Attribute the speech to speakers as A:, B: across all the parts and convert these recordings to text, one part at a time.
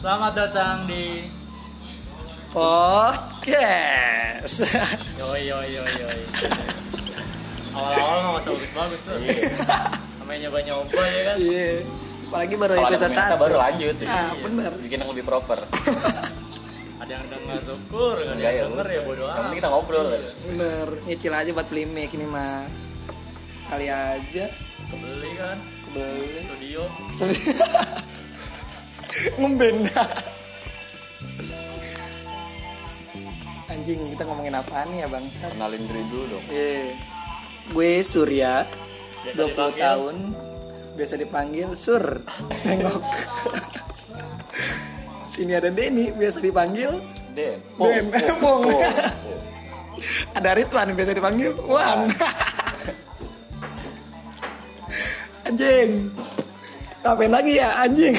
A: Selamat datang di
B: podcast.
A: Yoi Yoi Yoi Yoi. Awal-awal mah masih bagus-bagus tuh. Namanya nyoba-nyoba ya kan.
B: Iya. Apalagi baru
C: Kalau ada
B: episode
C: peminatnya
B: satu.
C: baru lanjut. ya.
B: Ah, benar.
C: Bikin yang lebih proper.
A: Ada yang denger syukur, nggak ada
C: Enggak ya.
A: yang denger ya bodo
C: Yang
A: amat.
C: penting kita ngobrol. ya.
B: Bener. Nyicil aja buat beli mic ini mah. Kali aja
A: Kebeli kan
B: kebeli.
A: studio.
B: Ngemben. Anjing, kita ngomongin apaan nih ya bangsa?
C: Kenalin diri dulu dong.
B: Iya. Gue Surya,
A: Biasa
B: 20
A: dipanggil.
B: tahun. Biasa dipanggil Sur. Tengok. Sini ada Denny, biasa dipanggil
C: Den.
B: Ben. Pong.
C: Pong.
B: ada Ridwan, biasa dipanggil Wan. anjing. Ngapain lagi ya anjing?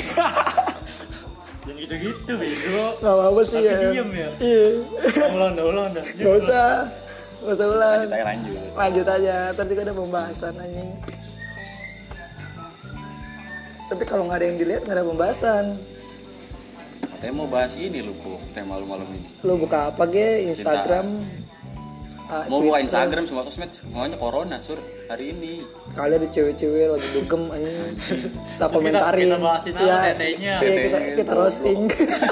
A: Dan gitu-gitu bego.
B: Gak apa-apa sih
A: Tapi
B: ya.
A: diem ya?
B: Iya.
A: Ulang dah, ulang dah.
B: Gak usah. Gak usah ulang.
C: Kita lanjut.
B: lanjut aja tadi juga ada pembahasan anjing tapi kalau nggak ada yang dilihat nggak ada pembahasan
C: Katanya mau bahas ini lu, Pung. Tema lu malam ini.
B: lu buka apa ge Instagram ah,
C: Mau buka
B: Twitter.
C: Instagram semua sosmed semuanya corona, Sur. Hari ini.
B: kali ada cewek-cewek lagi dugem anjing kita
A: Terus
B: komentarin
A: kita bahasin aja tetenya.
B: iya, kita kita
C: Tetenya,
B: roasting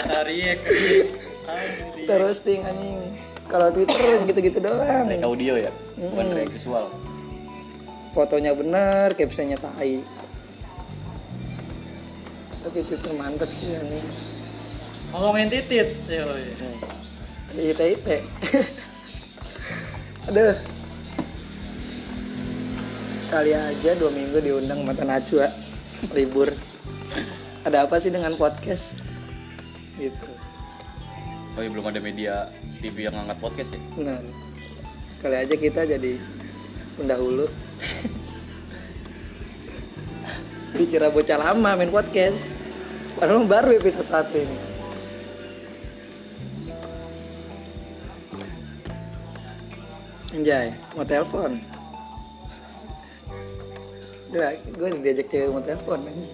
A: Cari ya ke.
B: kita roasting anjing kalau Twitter gitu-gitu doang
C: Rek audio ya, bukan rek visual.
B: fotonya benar captionnya tai tapi Twitter mantep sih anjing
A: Ngomongin titit. Yoi.
B: Ite ite. Iya, Aduh. Kali aja dua minggu diundang mata Najwa libur. Ada apa sih dengan podcast? Gitu.
C: Oh iya, belum ada media TV yang ngangkat podcast ya?
B: Nah, kali aja kita jadi pendahulu. Dikira bocah lama main podcast. Padahal baru episode satu ini. Anjay, mau telepon. Gila, gue diajak cewek mau telepon anjing.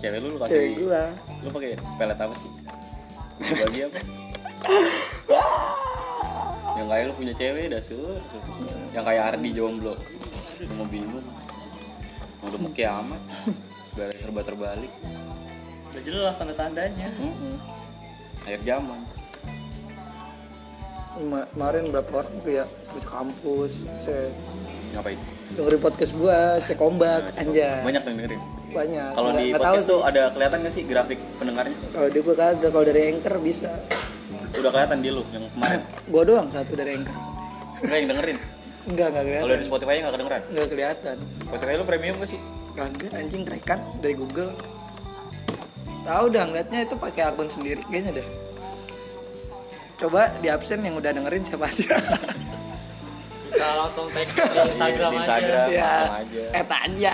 C: Cewek lu lu
B: Cewek
C: kasih
B: gue.
C: lu pakai pelet apa sih? Bagi apa? yang kayak lu punya cewek dah sur. Sur. Yang kayak Ardi jomblo. Lu mau bingung. Mau demek kiamat. Segala serba terbalik.
A: Udah jelas tanda-tandanya.
C: Akhir zaman.
B: Kema- Kemarin berapa orang tuh ya? Di kampus, se-
C: Ngapain?
B: dengerin podcast gue, cek ombak, anjay.
C: Banyak yang dengerin.
B: banyak
C: Kalau
B: Nggak-
C: di
B: nggak tahu
C: podcast tuh ada kelihatan gak sih grafik pendengarnya?
B: sih. kalau di gua kagak kalau dari anchor bisa
C: Udah kelihatan di lu yang kemarin.
B: gua doang satu dari anchor
C: Enggak yang dengerin.
B: enggak enggak
C: Kalau
B: kelihatan
C: di Spotify nggak kedengeran.
B: enggak kelihatan
C: Spotify lu premium gak sih?
B: kagak anjing rekan dari Google tahu dah ngeliatnya itu pakai akun sendiri kayaknya deh coba di absen yang udah dengerin siapa aja
A: Bisa langsung tag Iya, di Instagram
C: Di
A: aja.
C: Instagram langsung
B: ya
C: aja.
B: eta aja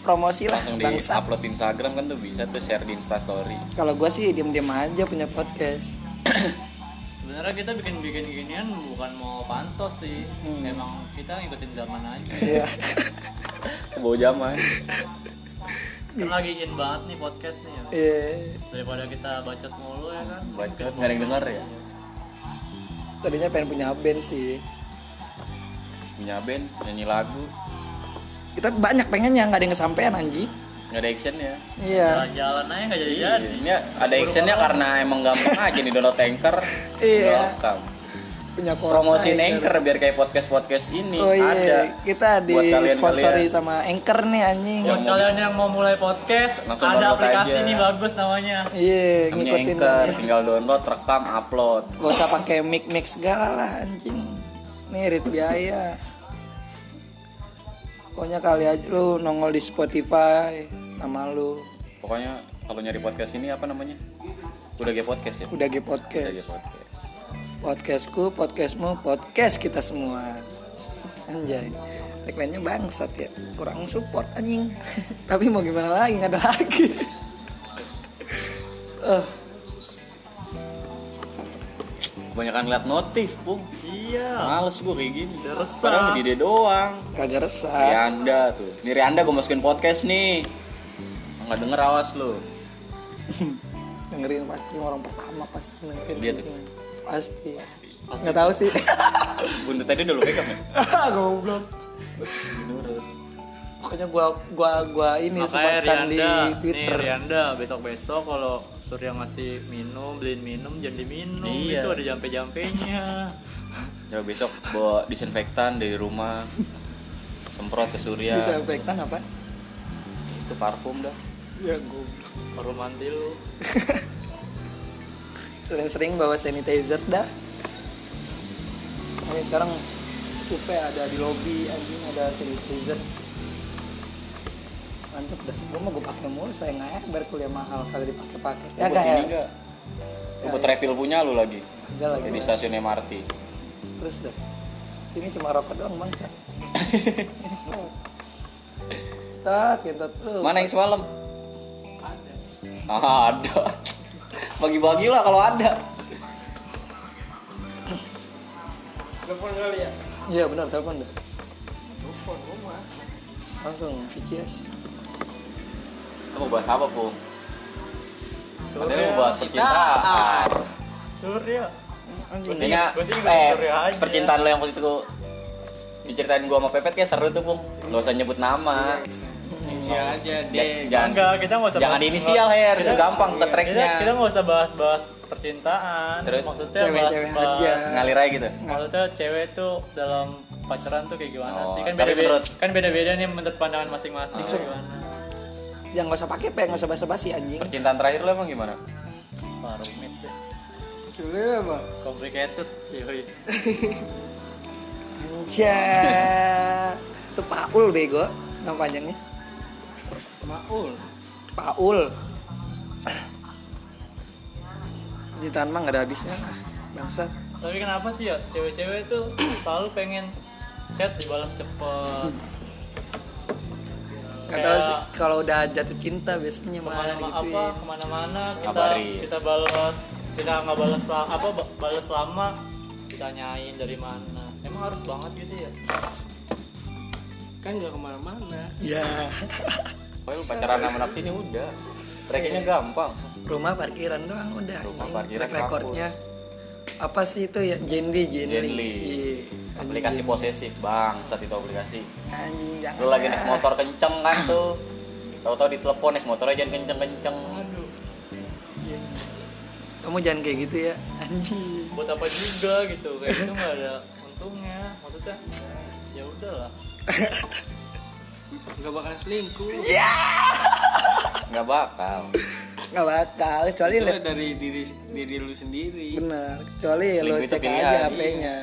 B: promosi lah
C: Langsung di
B: bangsa
C: upload di Instagram kan tuh bisa tuh share di Insta Story.
B: kalau gua sih diem-diem aja punya podcast
A: Sebenarnya kita bikin-bikin ginian bukan mau pansos sih. Emang kita ngikutin zaman aja.
B: ya
C: Bawa zaman.
A: Kan lagi in banget nih podcast nih ya.
B: iya
A: Daripada kita bacot mulu ya kan.
C: Buat nggak ada yang denger ya.
B: tadinya pengen punya band sih
C: Punya band, nyanyi lagu,
B: kita banyak pengennya nggak ada yang kesampaian anjing
C: nggak ada action ya.
B: iya
A: Jalan-jalan aja nggak jadi-jadi.
C: Ini ada actionnya karena emang gampang aja di download anchor.
B: Iya.
C: Welcome.
B: punya kota
C: Promosiin
B: Anchor.
C: anchor biar kayak podcast podcast ini
B: oh iya
C: ada.
B: kita di
C: Buat Iya. kalian-kalian.
B: sponsori sama anchor nih anjing
A: Buat kalian yang mau mulai podcast,
C: Langsung
A: ada
C: download
A: aplikasi
C: aja.
A: nih bagus namanya.
B: iya
C: Namanya
B: ngikutin
C: anchor,
B: nih.
C: tinggal download, rekam, upload.
B: gak usah pakai mic mic segala lah anjing nirit biaya pokoknya kali aja lu nongol di Spotify nama lu
C: Pokoknya kalau nyari podcast ini apa namanya? Udah kayak podcast ya.
B: udah ge
C: Udah kayak
B: podcast
C: podcast.
B: podcastku podcastmu podcast kita semua anjay tagline-nya bangsat ya kurang support anjing tapi mau gimana lagi nggak ada lagi Eh,
C: Kebanyakan lihat notif, Bung.
A: Iya.
C: Males gue kayak gini.
A: Udah resah.
C: Padahal di dia doang.
B: kagak resah
C: Rianda tuh. Ini Rianda gue masukin podcast nih. Nggak denger awas lu.
B: dengerin pasti orang pertama pasti dengerin
C: Dia tuh.
B: pasti nggak tahu sih
C: Buntut tadi udah lu pegang ya?
B: goblok
C: Menurut.
B: pokoknya gua gua gua ini
C: kan
A: Makanya
B: sematkan di
A: Rianda, nih
B: Twitter
A: Rianda besok-besok kalau Surya ngasih minum, beliin minum, jangan diminum.
C: Iya.
A: Itu ada jampe-jampenya.
C: Coba besok bawa disinfektan dari rumah. Semprot ke surya.
B: disinfektan apa
C: Itu parfum dah.
B: ya goblok
A: Baru mandi lu.
B: sering-sering bawa sanitizer dah ini sekarang Cupe ada di lobby anjing ada sanitizer mantep dah gua mau gua pakai mulu saya nggak ya kuliah mahal kalau dipakai pakai ya gak
C: Lu buat
B: ya
C: ini enggak? Lu buat refill punya lu lagi.
B: enggak lagi
C: Di stasiun MRT.
B: terus dah sini cuma rokok doang bangsa tat kentut lu
C: Mana yang semalam? Ada. Ah, ada. Bagi-bagi lah kalau ada.
D: Telepon kali ya?
B: iya benar telepon dah
D: Telepon rumah.
B: langsung VCS
C: Lu mau bahas apa, Pung? Padahal
A: Surya.
C: mau bahas percintaan.
A: Surya.
B: anjing
C: Kayaknya,
A: Gua sih ngikutin
C: eh,
A: Surya aja.
C: percintaan lo yang waktu itu gua- diceritain gua sama Pepet kayak seru tuh, Pung. Gak usah nyebut nama.
D: Inisial Iya aja
C: Ja-
D: deh.
C: Ya, Jangan,
A: Eh, Enggak, kita nggak usah
C: jangan
A: bahas-
C: inisial, Her. Itu
A: Kita-
C: gampang ke
A: Kita
C: tracknya.
A: kita nggak usah bahas-bahas percintaan.
C: Terus?
A: maksudnya bahas,
B: cewek-cewek aja
A: bahas-
C: Ngalir aja gitu.
A: maksudnya cewek tuh dalam pacaran tuh kayak gimana
C: Oh,
A: sih? Kan
C: tapi
A: beda-beda
C: menurut-
A: kan beda-beda nih menurut pandangan masing-masing kayak gimana.
B: yang nggak usah pakai pengen nggak usah basa-basi anjing
C: Percintaan terakhir lo emang gimana?
A: Wah, rumit deh.
D: Dulu apa?
A: Complicated, cuy.
B: Anjay. Itu Paul bego nama panjangnya.
D: Maul.
B: Paul. Jutaan mah nggak ada habisnya lah. Bangsa.
A: Tapi kenapa sih ya cewek-cewek tuh selalu pengen chat dibalas cepet.
B: Nggak tahu sih,
A: Kayak-
B: kalau udah jatuh cinta biasanya mana
A: kemana
B: gitu
A: apa
B: ya.
A: kemana-mana kita
C: Kabarin.
A: kita balas kita nggak balas la- apa ba- balas lama ditanyain dari mana emang harus banget gitu ya
D: Kan gak kemana-mana.
B: Ya.
C: Pokoknya lu pacaran sama nafsi ini udah. Trackingnya
D: Iya.
C: gampang.
B: Rumah parkiran doang udah.
C: Rumah
B: anjing.
C: parkiran
B: Track recordnya. Apa sih itu ya? Jendi, Jendi.
C: Jenly.
B: Iya.
C: Aplikasi posesif, bang. Saat itu aplikasi.
B: Anjing jangan.
C: Lu lagi naik
D: Iya.
B: lah.
C: motor kenceng kan tuh. Tahu-tahu ditelepon naik motornya jangan kenceng-kenceng.
A: aduh
B: Kamu jangan kayak gitu ya. Anjing.
A: buat apa juga gitu kayak itu nggak ada untungnya maksudnya ya udahlah
D: Gak bakal selingkuh.
C: Nggak bakal.
B: Nggak bakal, kecuali
D: Itu
B: lihat
D: dari diri diri lu sendiri.
B: Benar, kecuali lo
C: Selingkuh itu
B: cek
C: pilihan,
B: aja
C: iya.
B: HP-nya.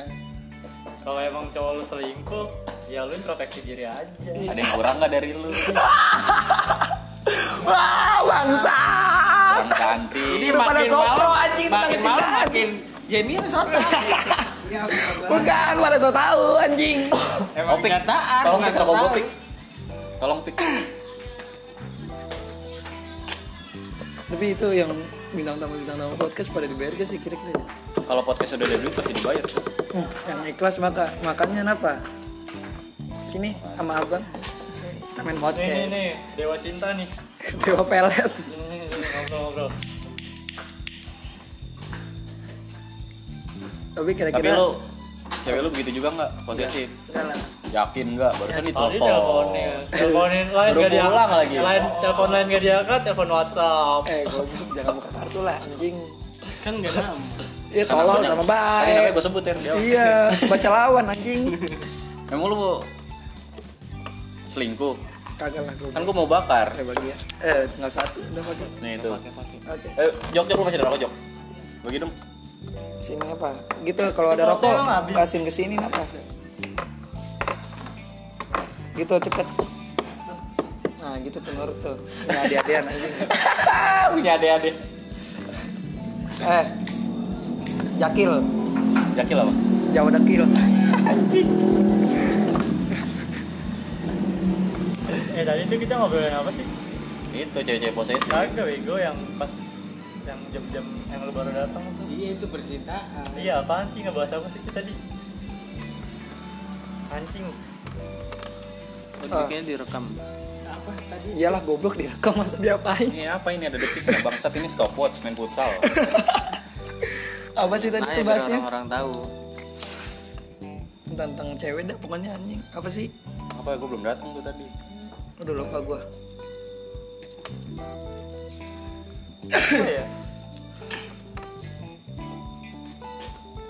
A: kalau emang cowok lu selingkuh ya lu introspeksi diri aja
C: Ada yang kurang nggak dari lu?
B: Wah, bangsa.
C: Kurang cantik.
D: Ini
B: Udah pada
D: makin
B: sopro,
D: malam,
B: anjing, tentang
D: makin malam
B: kecintaan.
D: makin jenius soto.
B: Ya, Bukan, pada so tahu anjing.
D: Emang
C: Opik.
D: kenyataan.
C: Tolong
D: nggak
C: pik rokok
D: tahu.
C: gua, pik. Tolong pik.
B: Tapi itu yang bintang tamu bintang tamu podcast pada dibayar gak sih kira-kira? ya?
C: Kalau podcast udah ada duit pasti dibayar.
B: Hmm, yang ikhlas maka makannya apa? Sini sama abang. Kita
A: nih
B: main
A: nih
B: podcast.
A: nih dewa cinta nih
B: Dewa pelet.
A: Ini, ini, ini, ngobrol-ngobrol
B: Tapi kira-kira.
C: Tapi lu cewek lu begitu juga nggak posesif?
B: Enggak lah.
C: Yakin nggak?
B: Ya,
C: Barusan
A: Tadi
C: ditelepon.
A: Ah, teleponin, teleponin lain
C: Suruh
A: gak diangkat,
C: pulang lagi.
A: lain telepon lain gak diangkat, telepon WhatsApp.
B: Eh, goblok jangan buka kartu lah anjing.
D: Kan gak nama.
B: Iya tolol sama
C: Tadi namanya
B: baik.
C: gue sebut ya.
B: Iya, baca lawan anjing.
C: Emang lu selingkuh?
B: Kagak lah gue.
C: Kan gue mau bakar.
B: Eh, bagi ya. Eh, tinggal satu udah pakai.
C: Nih itu.
B: Oke.
C: Eh, jok jok lu masih ada rokok jok. Bagi dong.
B: Sini apa? Gitu kalau ada
A: Ini
B: rokok
A: rokoknya emang habis.
B: kasihin ke sini apa? Gitu cepet. Nah, gitu penurut tuh. Nah, dia-dian anjing.
C: Ah, Punya ade-ade.
B: Eh. Jakil,
C: Jakil apa?
B: Jawa Dekil.
A: Eh tadi tuh kita ngobrolin apa sih?
C: Itu cewek-cewek posesif.
A: Kagak bego yang pas yang jam-jam yang lu baru datang tuh.
D: Iya itu percintaan.
A: Iya apaan sih ngebahas apa sih kita tadi? Anjing.
B: Tapi kayaknya
E: Ah.
D: direkam. Apa apa tadi?
B: Iyalah goblok direkam masa diapain?
C: Ini apa ini ada detik ya bangsat ini stopwatch main futsal.
B: Apa sih
A: Nah,
B: tadi
D: Nanya
A: iya,
B: tuh
D: biar
B: bahasnya?
D: orang-orang tahu.
B: Tentang cewek dah pokoknya anjing. Apa sih?
C: Apa gue belum datang tuh tadi.
B: Udah lupa gua.
A: ya?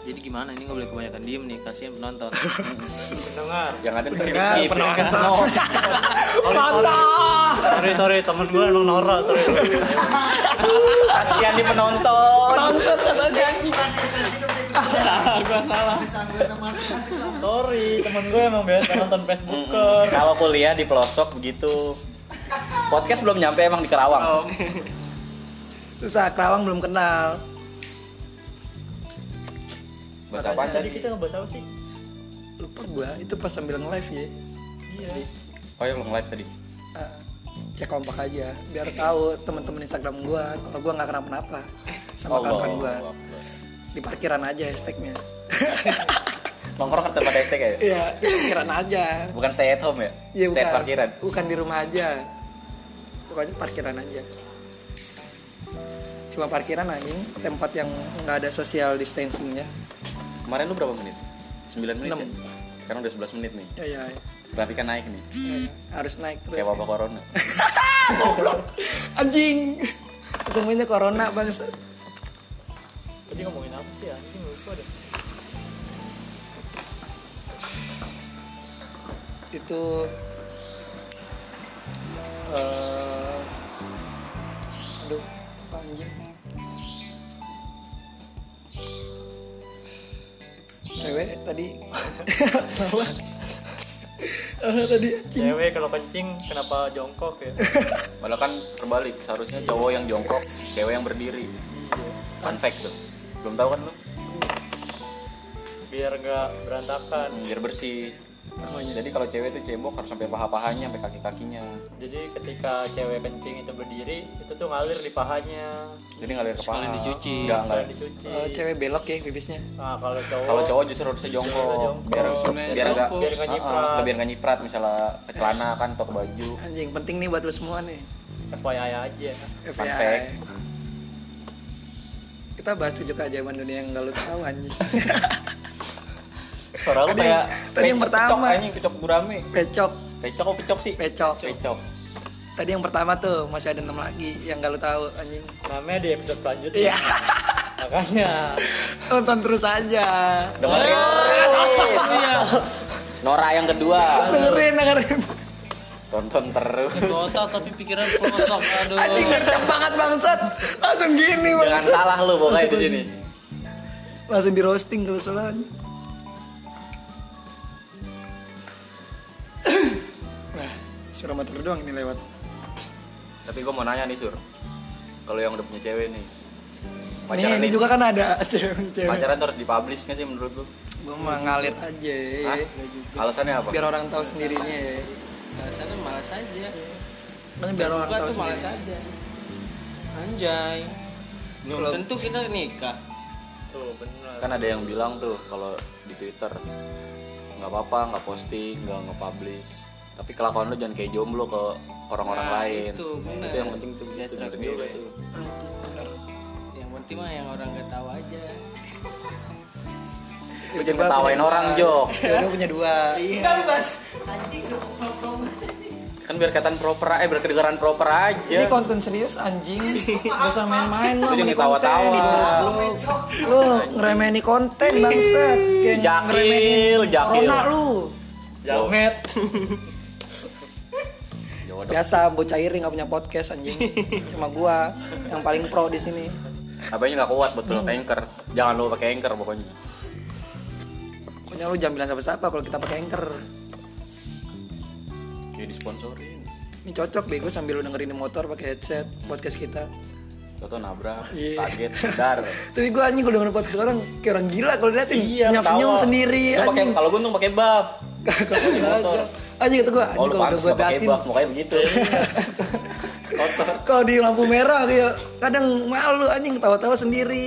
D: Jadi gimana ini nggak boleh kebanyakan diem nih, kasihan penonton.
A: Pendengar.
C: Yang ada ntar
B: Dengar,
C: di-skip.
B: penonton.
A: Sorry sorry temen gue emang norak sorry.
C: Kasihan nih penonton.
B: Penonton kata janji.
A: sorry temen gue emang biasa nonton Facebooker.
C: Kalau kuliah di pelosok begitu. Podcast belum nyampe emang di Kerawang.
B: Susah Kerawang belum kenal.
C: Bahasa apaan
A: Tadi
C: tadi?
A: kita ngebahas apa sih?
B: Lupa gua itu pas sambil nge-live ya.
A: Iya.
C: Oh ya belum live tadi.
B: Ah, cek kompak aja biar tahu teman-teman Instagram gua kalau gua nggak kenapa-napa sama
C: Allah,
B: kawan gua
C: Allah.
B: di parkiran aja hashtagnya
C: Nongkrong tempat hashtag ya?
B: iya di parkiran aja
C: Bukan stay at home ya?
B: Iya,
C: stay at parkiran.
B: Bukan di rumah aja. Pokoknya parkiran aja. Cuma parkiran anjing, tempat yang nggak ada social distancingnya.
C: Kemarin lu berapa menit? 9 menit
B: Enam.
C: ya? Sekarang udah 11 menit nih.
B: Ya ya, ya.
C: Grafiknya naik nih.
B: ya. harus naik terus.
C: Kayak wabah corona.
B: Anjing. Semuanya corona bangsa.
A: Tadi ngomongin apa sih ya? Ini lupa deh.
B: Itu eh aduh, apa anjing? Cewek tadi salah. Ah, tadi anjing.
A: Cewek kalau kencing kenapa jongkok ya?
C: Malah kan terbalik, seharusnya cowok yang jongkok, cewek yang berdiri. Fun fact tuh. Belum tahu kan lu?
A: Biar nggak berantakan.
C: Biar bersih.
B: namanya
C: Jadi kalau cewek tuh cebok harus sampai paha-pahanya, sampai kaki-kakinya.
A: Jadi ketika cewek kencing itu berdiri, itu tuh ngalir di pahanya,
C: Jadi ngalir ke paha.
D: Sekalian dicuci.
C: Enggak, enggak.
A: sekalian dicuci.
B: Eh, cewek belok ya pipisnya
A: Nah, kalau cowok,
C: Kalau cowok justru harusnya jongkok, biar
D: Sebenarnya
C: biar enggak
D: jongkok.
A: biar nggak nyiprat.
C: Ah, ah, biar nggak nyiprat misalnya ke celana kan atau ke baju.
B: anjing penting nih buat lu semua nih
A: FYI aja.
C: Fun
B: FYI.
C: fact.
B: kita bahas tujuh keajaiban dunia yang gak lu tahu anjing
C: Suara lu
B: Tadi
C: kayak
B: yang- tadi yang
C: pecok-
B: pertama.
C: Pecok anjing pecok gurame.
B: pecok
C: Pecok apa pecok sih?
B: pecok
C: Pecok.
B: tadi yang pertama tuh masih ada enam lagi yang gak lu tahu anjing
A: Namanya di episode selanjutnya.
B: iya
A: Makanya.
B: tonton terus aja
C: Dengerin. Iya. Nora yang kedua.
B: dengerin dengerin
C: Tonton terus.
D: Otak tapi pikiran kosong. Aduh.
B: anjing gercep banget bangsat langsung gini
C: Jangan
B: bangsat
C: salah lu pokoknya di sini.
B: langsung di roasting kalau salah anjing. nah suruh mater doang ini lewat
C: Tapi gue mau nanya nih Sur. Kalau yang udah punya cewek nih.
B: Nih, ini
C: Pacaran nih.
B: juga kan ada cewek-cewek.
C: Pacaran tuh harus dipublish nggak sih menurut lu?
B: Gue mah ngalir aja ya.
C: Hah? Alasannya apa?
B: Biar orang tahu sendirinya ya.
D: Alasannya malas aja.
B: Kan biar orang
D: Gua
B: tahu
D: tuh malas
B: sendiri.
D: aja. Anjay. Belum
B: Kalau-
D: tentu kita nikah.
A: Tuh, benar.
C: Kan ada yang bilang tuh kalau di Twitter nggak apa-apa, nggak posting, nggak nge-publish. Tapi kelakuan lu jangan kayak jomblo ke orang-orang
D: Nah,
C: lain.
D: itu, bener.
C: yang penting tuh.
D: Dia
C: Itu
D: strike
C: bener juga
D: gue.
C: tuh.
D: Yang penting mah yang orang gak tahu aja.
C: Lu jangan ketawain orang, Jok.
B: Ya, gua punya dua.
D: Enggak lu baca.
C: Kan biar kelihatan proper, eh biar kedengeran proper aja.
B: Ini konten serius anjing. Gak usah main-main lu
C: Iya. Jadi
B: sama
C: ketawa-tawa.
B: konten. Lu ngeremeni konten bangsat. Kayak
C: Jakil,
B: ngeremehin
C: jakil.
B: Corona lu.
A: Jamet.
C: Jawa dong.
B: Biasa bocah iri gak punya podcast anjing. Cuma gua yang paling pro di sini.
C: Apanya nggak kuat betul anchor. Jangan lu pakai anchor pokoknya.
B: Pokoknya lu jangan bilang siapa-siapa kalau kita pakai anchor.
C: Kayak disponsorin.
B: Ini cocok bego sambil lu dengerin di motor pakai headset podcast kita.
C: Toto nabrak,
B: Iya.
C: target, sadar.
B: Tapi gue anjing kalau dengerin podcast orang kayak orang gila kalau diliatin senyum-senyum
C: Iya, ketawa.
B: sendiri
C: Lu pakai
B: anjing.
C: kalau gue tuh pakai buff.
B: Kagak aja. Anjing itu gue
C: Oh,
B: anjing
C: lu
B: kalau udah
C: pantas
B: gue
C: nggak pakai
B: datin.
C: buff, mukanya begitu. Kotor.
B: Kalau di lampu merah kayak kadang malu anjing ketawa-tawa sendiri.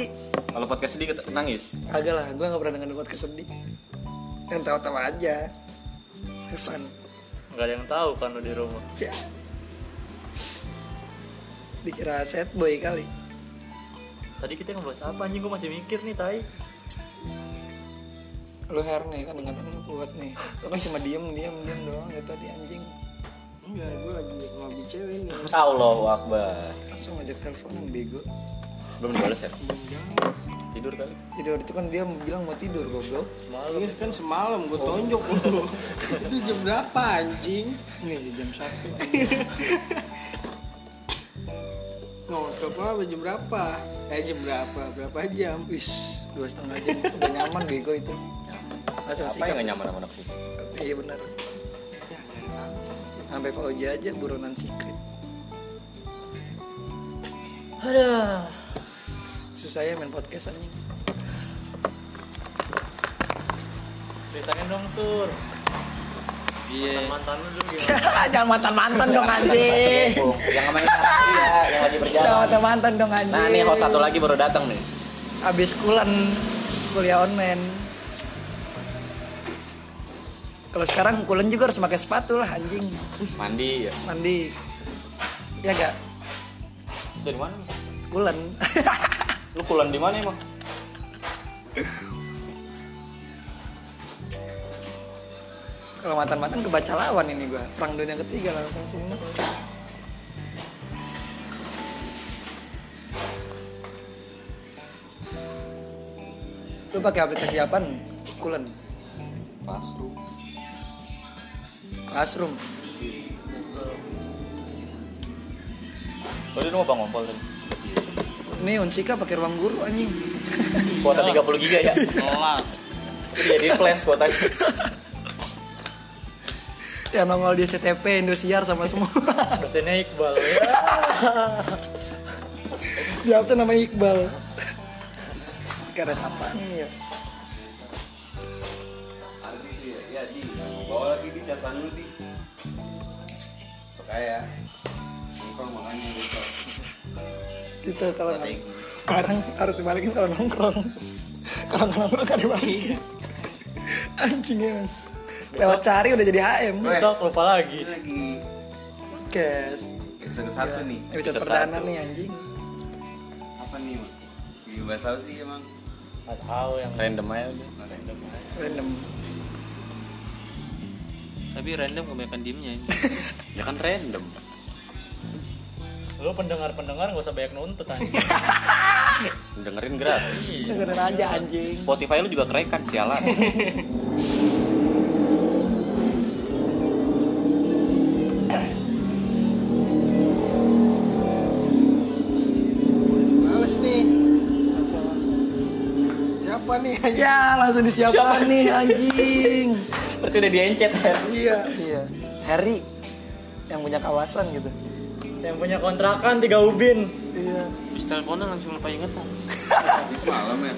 C: Kalau podcast sedih kita nangis.
B: Agak lah, gue gak pernah dengerin podcast sedih. Yang tawa-tawa aja. Have fun.
A: Gak ada yang tahu kan lu di rumah.
B: Ya. dikira set boy kali
A: Tadi kita ngebahas apa anjing gue masih mikir nih tai.
B: lu her nih kan dengan lu kuat nih lu kan cuma diem diem diem doang ya tadi anjing
E: Enggak, gue lagi ngopi cewek nih.
C: Allahu Akbar.
B: langsung ngajak teleponan bego
C: Belum dibales ya? Tidur kali.
B: tidur itu kan dia bilang mau tidur goblok
E: Ini kan semalam gue tonjok lu. Itu jam berapa anjing?
B: nih jam satu
E: Ngobrol apa jam berapa? Eh jam berapa? Berapa jam?
B: wis dua setengah jam udah nyaman bego itu Asal
C: Apa
B: sikap.
C: yang gak nyaman sama anak situ?
B: iya benar
E: Ya, nggak ada apa-apa.
B: sampai Fauji aja buronan secret
A: Ada.
B: susah ya main podcast anjing
A: Ceritain dong sur.
D: Iya.
A: Mantan lu dulu gimana?
B: jangan mantan mantan dong anjing
C: Yang sama yang sekarang iya, yang
B: jangan
C: lagi berjalan.
B: mantan mantan dong anjing
C: Nah, nih host satu lagi baru datang nih.
B: abis kulan kuliah online kalau sekarang kulen juga harus pakai sepatu lah anjing
C: Mandi ya.
B: mandi ya gak
C: Dari mana? Mas?
B: kulen
C: Lu pulang di mana emang?
B: kalau mantan mantan kebaca lawan ini gua perang dunia ketiga langsung semua lu pakai aplikasi apa kulen
C: Pasru.
B: classroom
C: Tadi lu mau bang ngompol tadi.
B: ini unsika pakai ruang guru anjing
C: Kuota 30 giga ya.
D: Nolak.
C: Iya, di flash kuotanya.
B: ya nongol di CTP Indosiar sama semua
A: Dosennya Iqbal ya.
B: Di absen nama Iqbal. Karet apa ini ya?
F: Ardi tuh ya, ya di, bawa lagi di casan lu di. Suka ya. Nongkrong makanya gitu.
B: Kita Gitu, kalau nggak- barang harus dibalikin kalau nongkrong. kalau nggak nongkrong kan dibalikin. Anjing emang. Lewat cari udah jadi HM.
A: Besok lupa lagi.
F: Ini lagi
B: Kes.
F: episode satu nih.
B: Episode perdana nih anjing.
F: Apa nih? Mak? Di bahasa apa sih emang?
A: Gak tahu yang
C: Random aja udah.
F: Random aja.
B: Random.
D: Tapi random kebanyakan diemnya ini.
C: Ya kan random.
A: lu pendengar-pendengar gak usah banyak nuntut anjing.
C: Dengerin gratis.
B: Dengerin aja anjing.
C: Spotify lu juga kerekan sialan.
E: Males nih.
B: Langsung langsung.
E: Siapa nih?
B: Ya langsung disiapkan nih anjing.
C: Berarti udah diencet.
E: Iya.
B: iya. Harry yang punya kawasan gitu.
A: yang punya kontrakan tiga ubin.
B: Iya.
D: Habis teleponan langsung lupa ingetan.
F: Ini semalam ya.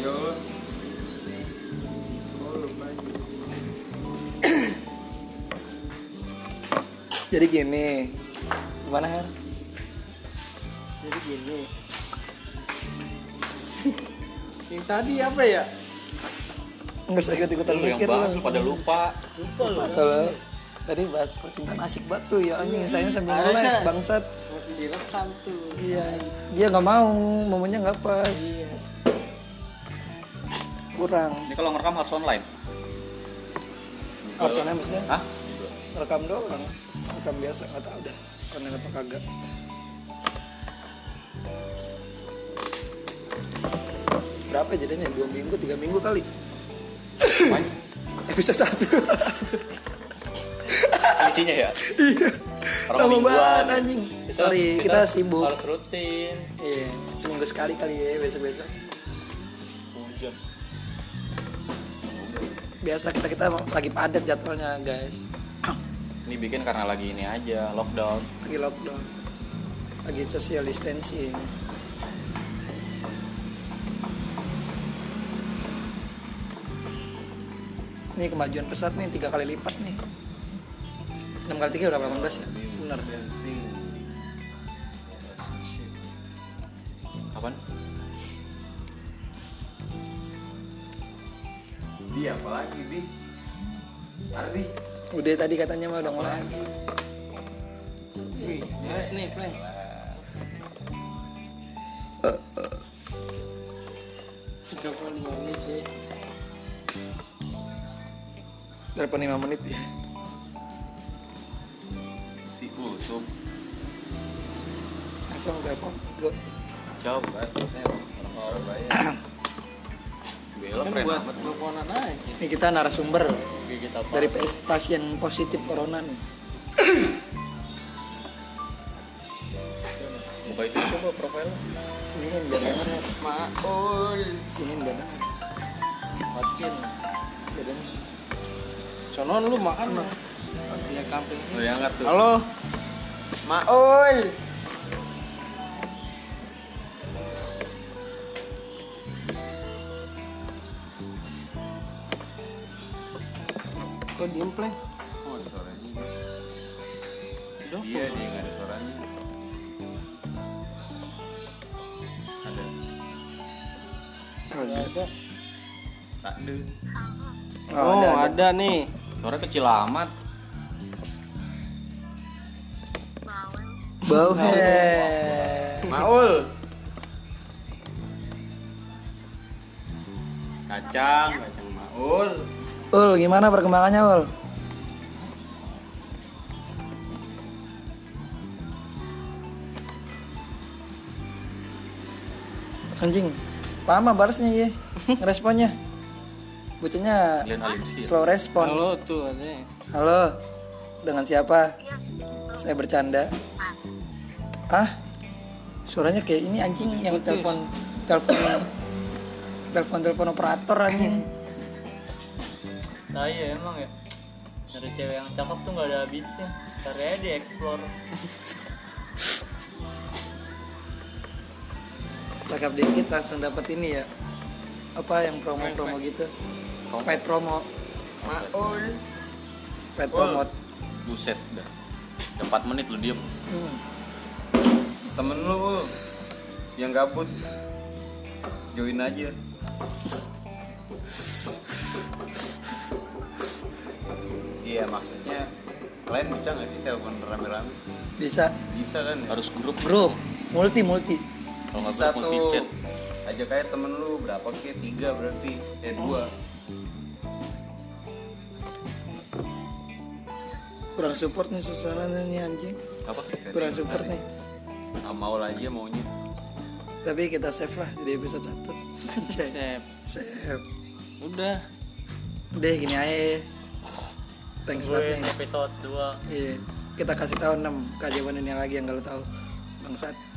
F: Yo.
B: Jadi gini. Gimana Her?
E: Jadi gini. Yang tadi apa ya?
B: Nggak usah ikut-ikutan
C: Lu yang
B: mikir
C: bahas
B: lu.
C: lu pada lupa.
A: Lupa lu.
B: Atau lo- tadi bahas percintaan asik batu ya anjing saya sambil
E: Harusnya.
B: ngeles bangsat.
E: Waktu direkam tuh.
B: Iya. Dia nggak mau, momennya nggak pas. Kurang.
C: Ini kalau ngerekam harus online.
B: Harusnya maksudnya
C: Hah?
B: rekam doang. Rekam biasa nggak tahu dah. Online apa kagak. Berapa jadinya? Dua minggu, tiga minggu kali.
C: Main.
B: Episode satu.
C: Isinya ya.
B: Iya.
C: Orang
B: Lama
C: mingguan.
B: banget anjing. Sorry, kita sibuk.
A: Harus rutin.
B: Iya, seminggu sekali kali ya besok-besok.
A: Hujan.
B: Biasa kita kita lagi padat jadwalnya guys,
C: Ini bikin karena lagi ini aja lockdown.
B: lagi lockdown, lagi social distancing. Ini kemajuan pesat nih tiga kali lipat nih. 6 kali 3 udah 18 ya? Bener
F: Dancing.
C: Kapan?
F: Di apa lagi di? Ardi.
B: Udah tadi katanya mah udah mulai
E: Males nih, Play. Joko lima menit ya.
B: daripada lima menit ya
F: Si Usup
B: asal telepon gue
C: Coba. Belok
E: Kan
C: keren
E: buat
C: amat.
E: teleponan aja.
B: ini kita narasumber
A: Gigit apa?
B: dari PS pasien positif corona nih
C: Buka itu coba profilnya.
B: siniin biar denger ya
E: Maul.
B: siniin biar denger
E: Macin.
B: biar denger
E: Sonon lu makan mah. Dia kampung.
C: Lu diangkat tuh.
E: Halo. Maul. Kok diem pleng?
F: Oh ada suaranya
E: Udah,
F: Iya dia nggak ada suaranya Ada
E: nggak
B: kagak
E: ada.
F: Tak ada
B: Oh,
E: Oh,
B: ada,
E: ada, nih.
C: Suara kecil amat.
B: bau
C: Maul. Kacang, kacang maul.
B: ul gimana perkembangannya ul anjing lama balasnya ya responnya bocahnya
C: Kalian Alinsky.
B: slow respon
E: Halo tuh ada.
B: Halo, dengan siapa? Saya bercanda. Ah, suaranya kayak ini anjing yang telepon telepon telepon telepon operator anjing.
A: Nah iya emang ya Nyari cewek yang cakep tuh gak ada habisnya Cari aja di explore
B: Cakap dikit langsung dapat ini ya. Apa yang promo-promo gitu? Pet promo,
E: Maul.
B: pet promo.
C: Buset dah. Udah 4 menit lu diem.
B: Hmm.
F: Temen lu Ul. Yang gabut Join aja Iya maksudnya Kalian bisa nggak sih telepon rame-rame?
B: Bisa
F: Bisa kan ya?
C: Harus grup.
B: grup, multi multi.
C: Kalau nggak
F: bisa
C: grup multi
F: tuh
C: chat.
F: Ajak aja temen lu berapa ke? Tiga berarti Eh dua
B: Kurang support nih susah nih anjing.
C: Apa?
B: Kurang support
F: ya.
B: nih.
F: Nggak mau aja maunya
B: Tapi kita save lah di episode 1.
E: Sep.
B: save.
E: Udah.
B: Udah gini aja. Thanks banget
A: Tungguin
B: nih.
A: episode 2
B: Iya. Kita kasih tahu 6 keajaiban dunia lagi yang gak lo tahu. Bangsat.